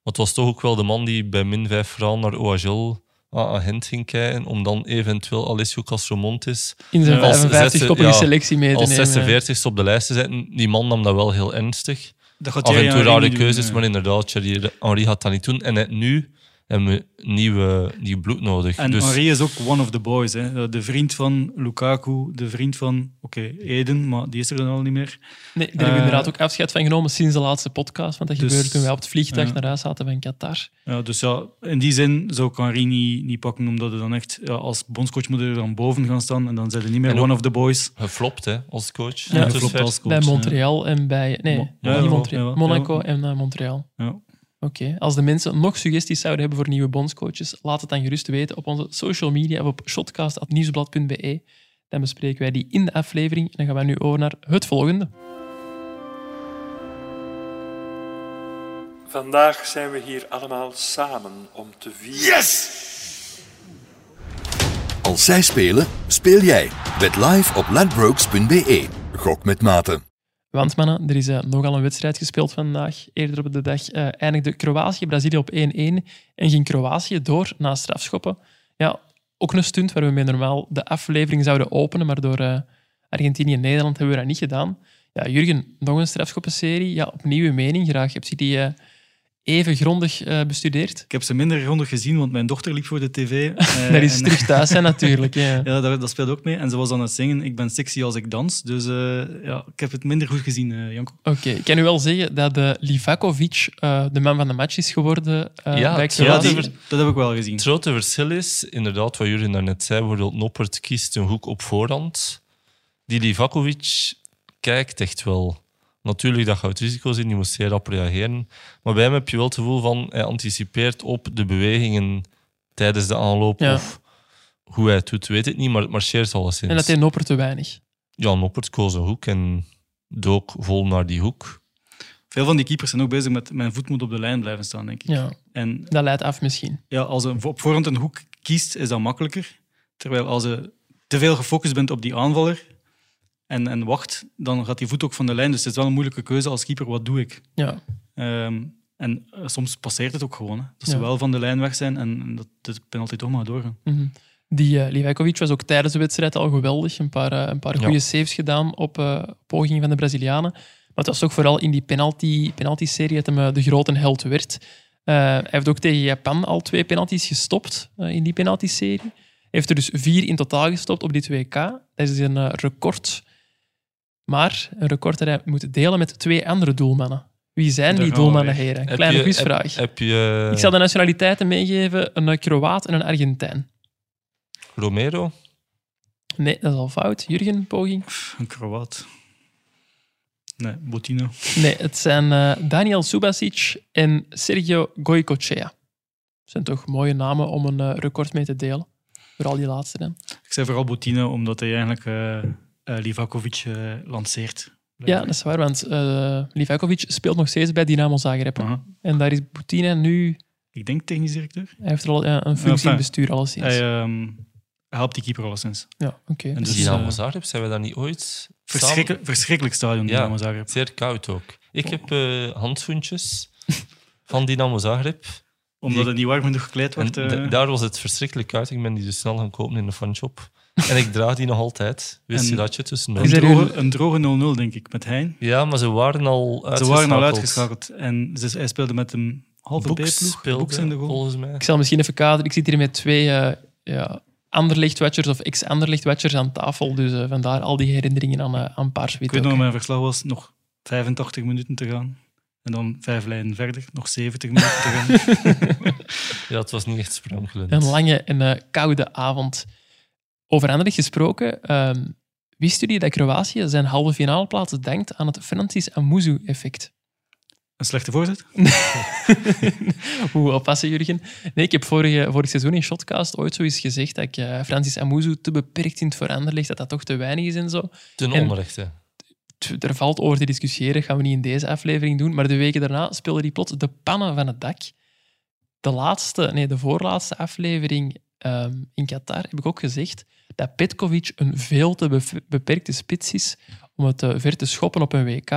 [SPEAKER 4] het was toch ook wel de man die bij min 5 vooral naar OHL aan ah, agent ging kijken, om dan eventueel Alessio Castromontes
[SPEAKER 1] In zijn
[SPEAKER 3] Ja, als
[SPEAKER 1] 55-koppige
[SPEAKER 4] zesde- ja,
[SPEAKER 1] selectie mee te
[SPEAKER 4] als
[SPEAKER 1] nemen.
[SPEAKER 4] 46 op de lijst te zetten. Die man nam dat wel heel ernstig.
[SPEAKER 3] Dat gaat
[SPEAKER 4] Af en
[SPEAKER 3] Thierry
[SPEAKER 4] toe
[SPEAKER 3] Henry
[SPEAKER 4] rare
[SPEAKER 3] niet doen,
[SPEAKER 4] keuzes,
[SPEAKER 3] eh.
[SPEAKER 4] maar inderdaad, Thierry Henry had dat niet doen. En net nu hebben we nieuwe, nieuw bloed nodig.
[SPEAKER 3] En
[SPEAKER 4] dus
[SPEAKER 3] Henri is ook one of the boys. Hè. De vriend van Lukaku, de vriend van, oké, Eden, maar die is er dan al niet meer.
[SPEAKER 1] Nee, daar hebben
[SPEAKER 3] Eh,
[SPEAKER 1] we inderdaad ook afscheid van genomen sinds de laatste podcast. Want dat
[SPEAKER 3] Dus-
[SPEAKER 1] gebeurde toen wij op het vliegtuig
[SPEAKER 3] ja.
[SPEAKER 1] naar huis zaten van Qatar.
[SPEAKER 3] Ja, dus ja, in die zin zou ik Henri niet, niet pakken, omdat hij dan echt ja, als bondscoach moet er dan boven gaan staan en dan zijn hij niet meer
[SPEAKER 4] En ook-
[SPEAKER 3] one of the boys.
[SPEAKER 4] geflopt, hè, als coach.
[SPEAKER 1] Ja,
[SPEAKER 4] Tot
[SPEAKER 3] geflopt
[SPEAKER 4] ver.
[SPEAKER 3] als coach.
[SPEAKER 1] Bij
[SPEAKER 3] ja.
[SPEAKER 1] Montreal en bij... Nee,
[SPEAKER 3] Mo-
[SPEAKER 4] ja,
[SPEAKER 1] niet
[SPEAKER 4] ja,
[SPEAKER 1] Montreal.
[SPEAKER 3] ja, ja.
[SPEAKER 1] Monaco en eh, Montreal.
[SPEAKER 3] Ja.
[SPEAKER 1] Oké, als de mensen nog suggesties zouden hebben voor nieuwe bondscoaches, laat het dan gerust weten op onze social media of op shotcast.nieuwsblad.be. Dan bespreken wij die in de aflevering. En dan gaan we nu over naar het volgende.
[SPEAKER 5] Vandaag zijn we hier allemaal samen om te vieren.
[SPEAKER 6] Als zij spelen, speel jij. Bet live op ladbrokes.be. E. Gok met mate.
[SPEAKER 1] Want mannen, er is eh, nogal een wedstrijd gespeeld vandaag. Eerder op de dag eh, eindigde Kroatië-Brazilië op 1-1 en ging Kroatië door na strafschoppen. Ja, ook een stunt waar we mee normaal de aflevering zouden openen, maar door eh, Argentinië en Nederland hebben we dat niet gedaan. Ja, Jurgen, nog een strafschoppenserie. Ja, opnieuw uw mening graag. Heb je die eh, even grondig eh, bestudeerd?
[SPEAKER 3] Ik heb ze minder grondig gezien, want mijn dochter liep voor de
[SPEAKER 1] (laughs)
[SPEAKER 3] tv. eh,
[SPEAKER 1] Daar is
[SPEAKER 3] en-
[SPEAKER 1] terug thuis
[SPEAKER 3] (laughs)
[SPEAKER 1] zijn natuurlijk. Ja.
[SPEAKER 3] Ja, dat, dat speelt ook mee. En ze was aan het zingen, ik ben sexy als ik dans. Dus eh, ja, ik heb het minder goed gezien, eh, Janko.
[SPEAKER 1] Oké, ik kan u wel zeggen dat de Livakovic eh, de man van de match is geworden eh,
[SPEAKER 4] Ja,
[SPEAKER 1] bij
[SPEAKER 4] het-
[SPEAKER 3] Ja,
[SPEAKER 1] Kroatië.
[SPEAKER 3] die-
[SPEAKER 4] dat is-
[SPEAKER 3] dat heb ik wel gezien.
[SPEAKER 4] Het grote verschil is, inderdaad, wat Jurgen daarnet zei, bijvoorbeeld Noppert kiest een hoek op voorhand. Die Livakovic kijkt echt wel. Natuurlijk, dat gaat risico's in, die moet zeer rap reageren. Maar bij hem heb je wel het gevoel van, hij anticipeert op de bewegingen tijdens de aanloop.
[SPEAKER 1] Ja.
[SPEAKER 4] Of hoe hij het doet, weet ik niet, maar het marcheert alleszins.
[SPEAKER 1] En dat deed Nopper te weinig.
[SPEAKER 4] Jan Noppert koos een hoek en dook vol naar die hoek.
[SPEAKER 3] Veel van die keepers zijn ook bezig met mijn voet moet op de lijn blijven staan, denk ik.
[SPEAKER 1] Ja,
[SPEAKER 3] En
[SPEAKER 1] dat leidt af misschien.
[SPEAKER 3] ja, als je op voorhand een hoek kiest, is dat makkelijker. Terwijl als je te veel gefocust bent op die aanvaller en, en wacht, dan gaat die voet ook van de lijn. Dus het is wel een moeilijke keuze als keeper, wat doe ik?
[SPEAKER 1] Ja.
[SPEAKER 3] Ehm, en eh, soms passeert het ook gewoon. Hè. Dat
[SPEAKER 1] Ja.
[SPEAKER 3] ze wel van de lijn weg zijn en, en dat de penalty toch maar doorgaan.
[SPEAKER 1] mhm. Die eh Livakovic was ook tijdens de wedstrijd al geweldig. Een paar, eh, een paar
[SPEAKER 4] Ja.
[SPEAKER 1] goede saves gedaan op eh, pogingen van de Brazilianen. Maar het was toch vooral in die penalty, penalty-serie dat hem eh, de grote held werd. Eh, hij heeft ook tegen Japan al twee penalties gestopt eh, in die penalty-serie. Hij heeft er dus vier in totaal gestopt op dit WK. Dat is een eh, record. Maar een record dat hij moet delen met twee andere doelmannen. Wie zijn
[SPEAKER 3] Daar
[SPEAKER 1] die
[SPEAKER 3] gaan we
[SPEAKER 1] doelmannen,
[SPEAKER 3] weer.
[SPEAKER 1] heren?
[SPEAKER 4] Heb
[SPEAKER 1] Kleine
[SPEAKER 4] je-
[SPEAKER 1] quizvraag.
[SPEAKER 4] Heb je
[SPEAKER 1] Ik zal de nationaliteiten meegeven: een eh, Kroaat en een Argentijn.
[SPEAKER 4] Romero?
[SPEAKER 1] Nee, dat is al fout. Jurgen, poging.
[SPEAKER 3] Pff, Een Kroaat. Nee, Bottino.
[SPEAKER 1] Nee, het zijn eh, Daniel Subasic en Sergio Goycochea. Dat zijn toch mooie namen om een eh, record mee te delen. Vooral die laatste dan.
[SPEAKER 3] Ik zei vooral Bottino, omdat hij eigenlijk eh, eh, Livakovic eh, lanceert.
[SPEAKER 1] Ja, dat is waar, want eh Livakovic speelt nog steeds bij Dynamo Zagreb.
[SPEAKER 3] Aha.
[SPEAKER 1] En daar is Boutina nu...
[SPEAKER 3] Ik denk technisch directeur.
[SPEAKER 1] Hij heeft er al ja, een functie
[SPEAKER 3] Enfin,
[SPEAKER 1] in het bestuur, alleszins.
[SPEAKER 3] Hij ehm, helpt die keeper alleszins.
[SPEAKER 1] ja, oké.
[SPEAKER 3] en
[SPEAKER 4] Dus,
[SPEAKER 3] Dus,
[SPEAKER 4] Dynamo
[SPEAKER 3] eh,
[SPEAKER 4] Zagreb, zijn we daar niet ooit samen-
[SPEAKER 3] Verschrikkelijk, verschrikkelijk stadion,
[SPEAKER 4] Ja.
[SPEAKER 3] Dynamo Zagreb.
[SPEAKER 4] Zeer koud ook. Ik
[SPEAKER 3] Oh.
[SPEAKER 4] heb eh, handschoentjes van Dynamo Zagreb.
[SPEAKER 3] Omdat het niet warm genoeg gekleed
[SPEAKER 4] En
[SPEAKER 3] wordt. eh,
[SPEAKER 4] da- daar was het verschrikkelijk koud. Ik ben die dus snel gaan kopen in de fanshop. En ik draag die nog altijd. Wist
[SPEAKER 3] En-
[SPEAKER 4] je dat je tussen
[SPEAKER 3] een,
[SPEAKER 1] Is er
[SPEAKER 3] droge,
[SPEAKER 1] hier-
[SPEAKER 3] een droge 0-0, denk ik, met Hein.
[SPEAKER 4] Ja, maar ze waren al
[SPEAKER 3] Ze
[SPEAKER 4] uitgeschakeld.
[SPEAKER 3] waren al uitgeschakeld. En ze, hij speelde met een halve
[SPEAKER 4] Boeks
[SPEAKER 3] B-ploeg.
[SPEAKER 4] speelde,
[SPEAKER 3] Boeks in de goal.
[SPEAKER 4] volgens mij.
[SPEAKER 1] Ik zal misschien even kaderen. Ik zit hier met twee eh, ja, Anderlecht-watchers of ex-Anderlecht-watchers aan tafel. Dus eh, vandaar al die herinneringen aan, eh, aan
[SPEAKER 3] Ik
[SPEAKER 1] Paars-Wit.
[SPEAKER 3] weet nog,
[SPEAKER 1] ook.
[SPEAKER 3] mijn verslag was nog 85 minuten te gaan. En dan vijf lijnen verder, nog 70 minuten te (laughs) gaan.
[SPEAKER 4] Ja, het was niet echt sprankelend.
[SPEAKER 1] Een lange en eh, koude avond. Over Anderlecht gesproken, ehm wist jullie dat Kroatië zijn halve finale plaatsen denkt aan het Francis Amuzu-effect?
[SPEAKER 3] Een slechte voorzet?
[SPEAKER 1] Hoe oppassen, Jurgen? Nee, ik heb vorige, vorig seizoen in Shotcast ooit zoiets gezegd dat ik eh, Francis Amuzu te beperkt in het veranderen ligt, dat dat toch te weinig is en zo.
[SPEAKER 4] Ten
[SPEAKER 1] En-
[SPEAKER 4] onrechte.
[SPEAKER 1] T- Er valt over te discussiëren, gaan we niet in deze aflevering doen. Maar de weken daarna speelde hij plots de pannen van het dak. De laatste, nee, de voorlaatste aflevering ehm, in Qatar heb ik ook gezegd dat Petkovic een veel te beve- beperkte spits is om het eh, ver te schoppen op een WK.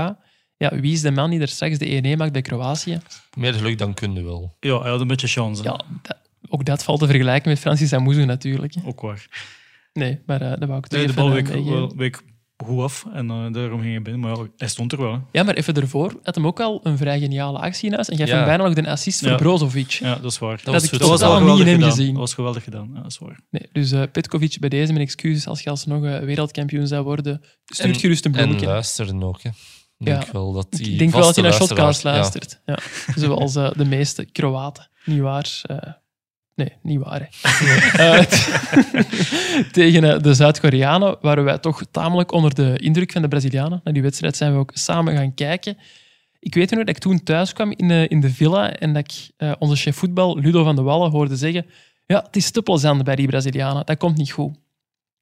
[SPEAKER 1] Ja, wie is de man die er straks de 1-1 maakt bij Kroatië?
[SPEAKER 4] Meer geluk dan kunde wel.
[SPEAKER 3] Ja, hij had een beetje chance. hè.
[SPEAKER 1] Ja, dat- ook dat valt te vergelijken met Francis Amouzou natuurlijk. hè.
[SPEAKER 3] Ook waar.
[SPEAKER 1] Nee, maar eh dat wou ik toch
[SPEAKER 3] Nee, de
[SPEAKER 1] even,
[SPEAKER 3] bal
[SPEAKER 1] eh,
[SPEAKER 3] week,
[SPEAKER 1] meegeven.
[SPEAKER 3] wel- week goed af en eh, daarom ging hij binnen. Maar ja, hij stond er wel. hè.
[SPEAKER 1] Ja, maar even ervoor had hem ook al een vrij geniale actie in huis. En jij
[SPEAKER 4] Ja.
[SPEAKER 1] hem bijna nog de assist voor
[SPEAKER 3] Ja.
[SPEAKER 1] Brozovic.
[SPEAKER 3] Ja, dat is waar.
[SPEAKER 1] Dat,
[SPEAKER 4] was
[SPEAKER 1] ik
[SPEAKER 4] totaal
[SPEAKER 1] totaal
[SPEAKER 4] wel
[SPEAKER 1] niet
[SPEAKER 3] geweldig
[SPEAKER 1] in hem
[SPEAKER 3] gedaan.
[SPEAKER 1] gezien.
[SPEAKER 3] Dat was geweldig gedaan. Ja, dat is waar.
[SPEAKER 1] Nee, dus eh, Petkovic, bij deze mijn excuses als je alsnog eh, wereldkampioen zou worden. Stuurt
[SPEAKER 4] En-
[SPEAKER 1] gerust een
[SPEAKER 4] En eh,
[SPEAKER 1] bloemetje.
[SPEAKER 4] luisteren ook. Hè. Ik
[SPEAKER 1] Ja.
[SPEAKER 4] denk wel dat die
[SPEAKER 1] ik denk wel dat
[SPEAKER 4] vaste
[SPEAKER 1] hij naar
[SPEAKER 4] luisteraars-
[SPEAKER 1] Shotcast luistert. Ja. (laughs) Zoals eh, de meeste Kroaten. Niet waar? eh, nee, niet waar. hè. Eh, (laughs) t- tegen eh, de Zuid-Koreanen waren wij toch tamelijk onder de indruk van de Brazilianen. Naar die wedstrijd zijn we ook samen gaan kijken. Ik weet nog dat ik toen thuis kwam in, eh, in de villa en dat ik eh, onze chef voetbal, Ludo van de Wallen, hoorde zeggen ja, het is te plezant bij die Brazilianen. Dat komt niet goed.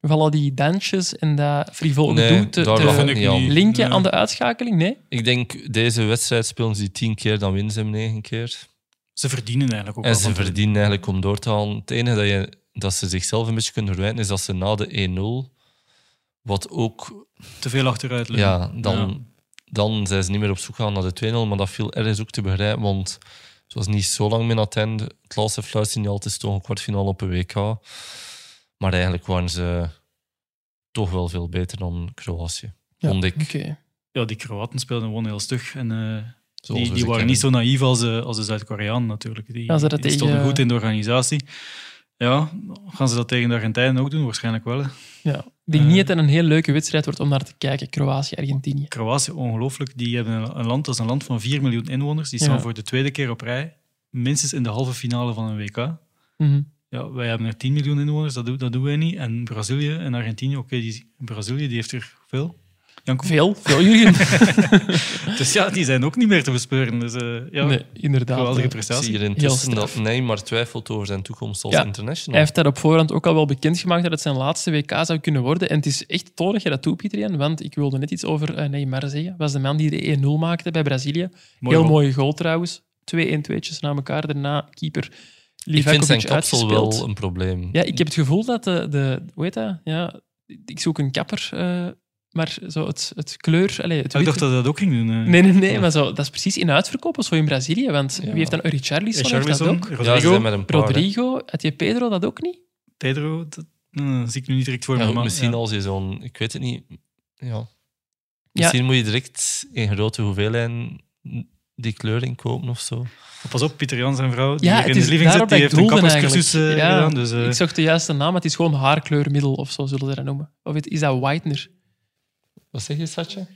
[SPEAKER 1] Van al die dansjes en dat frivol
[SPEAKER 4] Nee,
[SPEAKER 1] gedoe te,
[SPEAKER 4] daar
[SPEAKER 1] te
[SPEAKER 4] lag ik
[SPEAKER 3] ik
[SPEAKER 4] niet aan.
[SPEAKER 3] niet.
[SPEAKER 1] linken
[SPEAKER 3] Nee.
[SPEAKER 1] aan de uitschakeling. Nee?
[SPEAKER 4] Ik denk, deze wedstrijd spelen ze die tien keer, dan winnen ze hem negen keer.
[SPEAKER 3] Ze verdienen eigenlijk ook
[SPEAKER 4] En
[SPEAKER 3] wel
[SPEAKER 4] ze
[SPEAKER 3] wat.
[SPEAKER 4] verdienen eigenlijk om door te halen. Het enige dat, je, dat ze zichzelf een beetje kunnen verwijten is dat ze na de 1-0, wat ook,
[SPEAKER 3] te veel achteruit lopen.
[SPEAKER 4] ja, dan, dan zijn ze niet meer op zoek gaan naar de 2-0, maar dat viel ergens ook te begrijpen, want het was niet zo lang meer aan het einde. Het laatste fluitsignaal, het is toch een kwartfinale op een WK. Maar eigenlijk waren ze toch wel veel beter dan Kroatië.
[SPEAKER 1] Ja,
[SPEAKER 4] vond ik.
[SPEAKER 1] Oké.
[SPEAKER 3] Ja, die Kroaten speelden gewoon heel stug. En, eh,
[SPEAKER 4] Zoals
[SPEAKER 3] die
[SPEAKER 4] we
[SPEAKER 3] die
[SPEAKER 4] ze
[SPEAKER 3] waren
[SPEAKER 4] kennen.
[SPEAKER 3] niet zo naïef als, eh, als de Zuid-Koreanen natuurlijk. Die,
[SPEAKER 1] Gaan ze dat
[SPEAKER 3] die
[SPEAKER 1] tegen-
[SPEAKER 3] stonden goed in de organisatie. Ja, gaan ze dat tegen de Argentijnen ook doen? Waarschijnlijk wel. hè.
[SPEAKER 1] Ja. Ik denk
[SPEAKER 3] Eh.
[SPEAKER 1] niet dat het een heel leuke wedstrijd wordt om naar te kijken. Kroatië-Argentinië.
[SPEAKER 3] Kroatië, ongelooflijk. Die hebben een- een land, dat is een land van 4 miljoen inwoners. Die staan
[SPEAKER 1] Ja.
[SPEAKER 3] voor de tweede keer op rij. Minstens in de halve finale van een WK.
[SPEAKER 1] Mhm.
[SPEAKER 3] Ja, wij hebben er 10 miljoen inwoners, dat, doen- dat doen wij niet. En Brazilië en Argentinië, oké, die, Brazilië die heeft er veel. (laughs) Janko?
[SPEAKER 1] Veel, veel Jurgen.
[SPEAKER 3] Dus ja, die zijn ook niet meer te bespeuren. Dus eh, ja,
[SPEAKER 1] nee, inderdaad.
[SPEAKER 3] geweldige
[SPEAKER 4] Ik zie
[SPEAKER 3] prestatie.
[SPEAKER 4] hier intussen dat Neymar twijfelt over zijn toekomst als
[SPEAKER 1] Ja, Hij
[SPEAKER 4] international.
[SPEAKER 1] heeft daar op voorhand ook al wel bekendgemaakt dat het zijn laatste WK zou kunnen worden. En het is echt tof dat je dat doet, Pieter Jan, want ik wilde net iets over eh, Neymar zeggen. was de man die de 1-0 maakte bij Brazilië.
[SPEAKER 3] Mooi
[SPEAKER 1] heel
[SPEAKER 3] goal.
[SPEAKER 1] mooie goal trouwens. Twee 1-2'tjes na elkaar, daarna keeper
[SPEAKER 4] Ik vind zijn
[SPEAKER 1] Livakovic
[SPEAKER 4] kapsel
[SPEAKER 1] uitgespeeld.
[SPEAKER 4] wel een probleem.
[SPEAKER 1] Ja, ik heb het gevoel dat de... de hoe heet dat? Ja, ik zoek een kapper, eh, maar zo het, het kleur... Allez, het
[SPEAKER 3] Ah, Ik
[SPEAKER 1] witte-
[SPEAKER 3] dacht dat hij dat ook ging doen. eh.
[SPEAKER 1] Nee, nee, nee, maar zo, dat is precies in uitverkoop als zo in Brazilië. Want
[SPEAKER 4] Ja.
[SPEAKER 1] wie heeft dan oh, Richarlison?
[SPEAKER 3] Eh,
[SPEAKER 1] Heeft dat
[SPEAKER 3] Charlison,
[SPEAKER 1] ook?
[SPEAKER 4] Ja, ze
[SPEAKER 3] Rodrigo,
[SPEAKER 4] zijn met een paar. hè.
[SPEAKER 1] Rodrigo, had je Pedro dat ook niet?
[SPEAKER 3] Pedro, dat eh, zie ik nu niet direct voor
[SPEAKER 4] Ja,
[SPEAKER 3] me.
[SPEAKER 4] goed,
[SPEAKER 3] maar,
[SPEAKER 4] misschien
[SPEAKER 3] ja.
[SPEAKER 4] als je zo'n, ik weet het niet. Ja. Misschien moet je direct in grote hoeveelheden die kleur inkopen of zo.
[SPEAKER 3] Pas op, Pieter Jan, zijn vrouw, die
[SPEAKER 1] Ja,
[SPEAKER 3] hier
[SPEAKER 1] het
[SPEAKER 3] in
[SPEAKER 1] is
[SPEAKER 3] de living
[SPEAKER 1] daarop
[SPEAKER 3] zit, die
[SPEAKER 1] dat ik
[SPEAKER 3] heeft een
[SPEAKER 1] doelde
[SPEAKER 3] kapperscursus eh,
[SPEAKER 1] eigenlijk. Ja,
[SPEAKER 3] gedaan. Dus, eh,
[SPEAKER 1] Ik zocht de juiste naam, maar het is gewoon haarkleurmiddel of zo zullen ze dat noemen. Of het- is dat whitener?
[SPEAKER 4] Wat zeg je, Satje?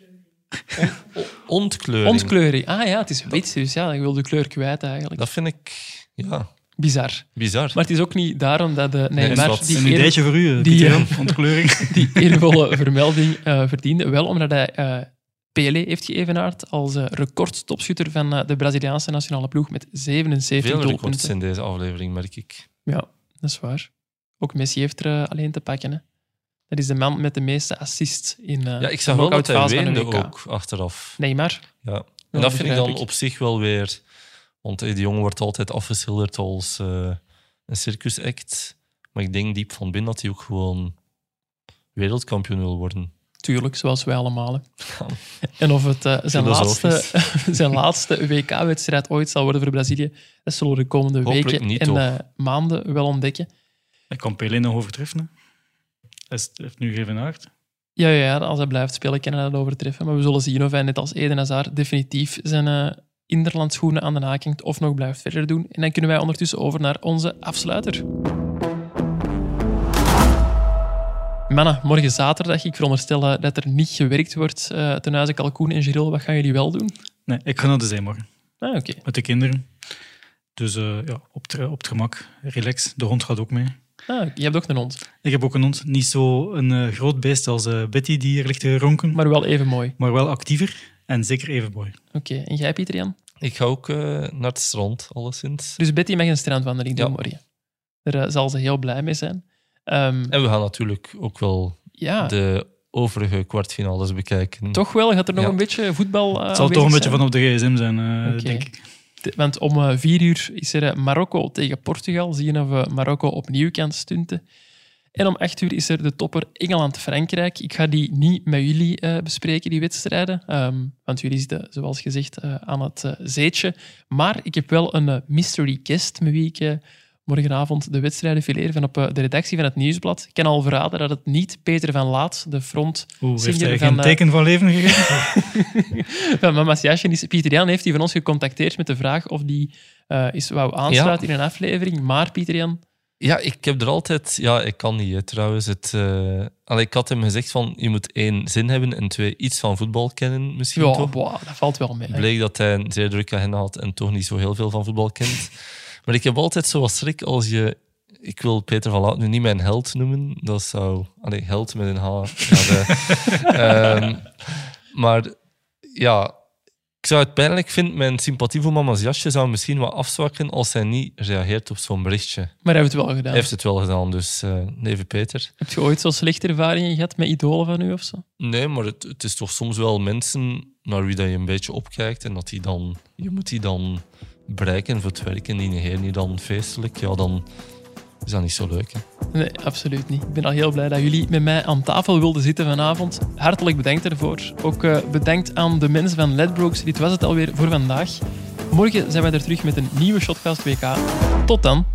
[SPEAKER 4] Ontkleuring.
[SPEAKER 1] Ontkleuring. Ah ja, het is wit, dus ja, je wil de kleur kwijt eigenlijk.
[SPEAKER 4] Dat vind ik ja,
[SPEAKER 1] Bizar.
[SPEAKER 4] bizar.
[SPEAKER 1] Maar het is ook niet daarom dat de
[SPEAKER 4] Nee,
[SPEAKER 1] Neymar
[SPEAKER 4] zwart.
[SPEAKER 3] een
[SPEAKER 1] die, eer,
[SPEAKER 3] ideetje voor u, eh,
[SPEAKER 1] die,
[SPEAKER 3] Pieter
[SPEAKER 1] eh,
[SPEAKER 3] Jan, ontkleuring.
[SPEAKER 1] die (laughs) eervolle vermelding eh, verdiende. Wel omdat hij eh Pele heeft geëvenaard als eh, recordtopschutter van eh, de Braziliaanse nationale ploeg met 77
[SPEAKER 4] Veel records
[SPEAKER 1] doelpunten.
[SPEAKER 4] in deze aflevering, merk ik.
[SPEAKER 1] Ja, dat is waar. Ook Messi heeft er eh, alleen te pakken. Hè. Dat is de man met de meeste assists in eh
[SPEAKER 4] Ja, ik zag wel dat hij
[SPEAKER 1] knockoutfase van een
[SPEAKER 4] weende
[SPEAKER 1] WK.
[SPEAKER 4] ook achteraf.
[SPEAKER 1] Neymar.
[SPEAKER 4] Ja. En
[SPEAKER 1] Ja,
[SPEAKER 4] dat vind ik
[SPEAKER 1] begrijp
[SPEAKER 4] dan
[SPEAKER 1] ik.
[SPEAKER 4] op zich wel weer... Want eh, die jongen wordt altijd afgeschilderd als eh, een circusact. Maar ik denk diep van binnen dat hij ook gewoon wereldkampioen wil worden.
[SPEAKER 1] Tuurlijk, zoals wij allemaal. hè.
[SPEAKER 4] Ja.
[SPEAKER 1] (laughs) En of het eh, zijn, laatste, (laughs)
[SPEAKER 4] Filosofisch.
[SPEAKER 1] zijn laatste WK-wedstrijd ooit zal worden voor Brazilië, dat zullen we de komende
[SPEAKER 4] Hopelijk
[SPEAKER 1] weken
[SPEAKER 4] niet,
[SPEAKER 1] en
[SPEAKER 4] toch?
[SPEAKER 1] eh, maanden wel ontdekken.
[SPEAKER 3] (laughs) Hij kan Pelé nog overtreffen. hè. Hij is- heeft nu geëvenaard.
[SPEAKER 1] Ja, ja, ja, als hij blijft spelen, kan hij dat overtreffen. Maar we zullen zien of hij, net als Eden Hazard, definitief zijn eh Inderlandschoenen aan de haak hangt of nog blijft verder doen. En dan kunnen wij ondertussen over naar onze afsluiter. Mannen, morgen zaterdag. Ik veronderstel eh, dat er niet gewerkt wordt eh ten huize Kalkoen en Giril. Wat gaan jullie wel doen?
[SPEAKER 3] Nee, ik ga naar de zee morgen
[SPEAKER 1] Ah, oké.
[SPEAKER 3] met de kinderen. Dus eh, ja, op, het- op het gemak, relax. De hond gaat ook mee.
[SPEAKER 1] Ah, je hebt ook een hond,
[SPEAKER 3] Ik heb ook een hond, niet zo'n eh groot beest als eh, Betty die hier ligt te ronken, maar,
[SPEAKER 1] maar wel even mooi.
[SPEAKER 3] wel actiever en zeker even mooi.
[SPEAKER 1] Oké, en jij Pieter Jan?
[SPEAKER 4] Ik ga ook eh, naar het strand, alleszins.
[SPEAKER 1] Dus Betty mag een strandwandeling doen
[SPEAKER 4] Ja.
[SPEAKER 1] morgen. Daar eh, zal ze heel blij mee zijn. Ehm,
[SPEAKER 4] En we gaan natuurlijk ook wel
[SPEAKER 1] ja,
[SPEAKER 4] de overige kwartfinales bekijken.
[SPEAKER 1] toch wel gaat er nog
[SPEAKER 4] Ja.
[SPEAKER 1] een beetje voetbal eh,
[SPEAKER 3] Het zal toch een
[SPEAKER 1] aanwezig
[SPEAKER 3] beetje
[SPEAKER 1] zijn.
[SPEAKER 3] van op de gsm zijn, eh,
[SPEAKER 1] Oké.
[SPEAKER 3] denk ik.
[SPEAKER 1] Want om eh, vier uur is er eh, Marokko tegen Portugal. Zien of we eh, Marokko opnieuw kan stunten. En om acht uur is er de topper Engeland-Frankrijk. Ik ga die niet met jullie eh, bespreken, die wedstrijden. Ehm, want jullie zitten, zoals gezegd, eh, aan het eh, zeetje. Maar ik heb wel een eh, mystery guest met wie ik eh, morgenavond de wedstrijden fileer van op eh, de redactie van het Nieuwsblad. Ik kan al verraden dat het niet Peter van Laat, de front
[SPEAKER 3] Oeh, heeft
[SPEAKER 1] Singer
[SPEAKER 3] hij
[SPEAKER 1] van,
[SPEAKER 3] geen
[SPEAKER 1] eh,
[SPEAKER 3] teken van leven gegeven?
[SPEAKER 1] van Mama's Jasje is... Pieter Jan heeft die van ons gecontacteerd met de vraag of die eh is wou aansluiten in een aflevering. Maar Pieter Jan,
[SPEAKER 4] Ja, ik heb er altijd... Ja, ik kan niet, hè, trouwens. Het, eh, allee, ik had hem gezegd van, je moet één zin hebben en twee, iets van voetbal kennen misschien
[SPEAKER 1] ja,
[SPEAKER 4] toch.
[SPEAKER 1] boah, dat valt wel mee. hè.
[SPEAKER 4] bleek dat hij een zeer drukke agenda had en toch niet zo heel veel van voetbal kent. maar ik heb altijd zo wat schrik als je... Ik wil Peter van Laat nu niet mijn held noemen. Dat zou... Allee, held met een H. Ja, de- Ehm, maar ja, ik zou het pijnlijk vinden. Mijn sympathie voor mama's jasje zou misschien wat afzwakken als zij niet reageert op zo'n berichtje.
[SPEAKER 1] Maar hij heeft het wel gedaan.
[SPEAKER 4] Hij heeft het wel gedaan, dus eh neven Peter.
[SPEAKER 1] Heb je ooit zo slechte ervaringen gehad met idolen van u of zo?
[SPEAKER 4] Nee, maar het, het is toch soms wel mensen naar wie dat je een beetje opkijkt en dat die dan, je moet die dan bereiken voor het werk en die negeren je dan feestelijk. Ja, dan is dat niet zo leuk. Hè.
[SPEAKER 1] Nee, absoluut niet. Ik ben al heel blij dat jullie met mij aan tafel wilden zitten vanavond. Hartelijk bedankt daarvoor. Ook eh, bedankt aan de mensen van Ledbrokes. Dit was het alweer voor vandaag. Morgen zijn wij er terug met een nieuwe Shotcast WK. Tot dan.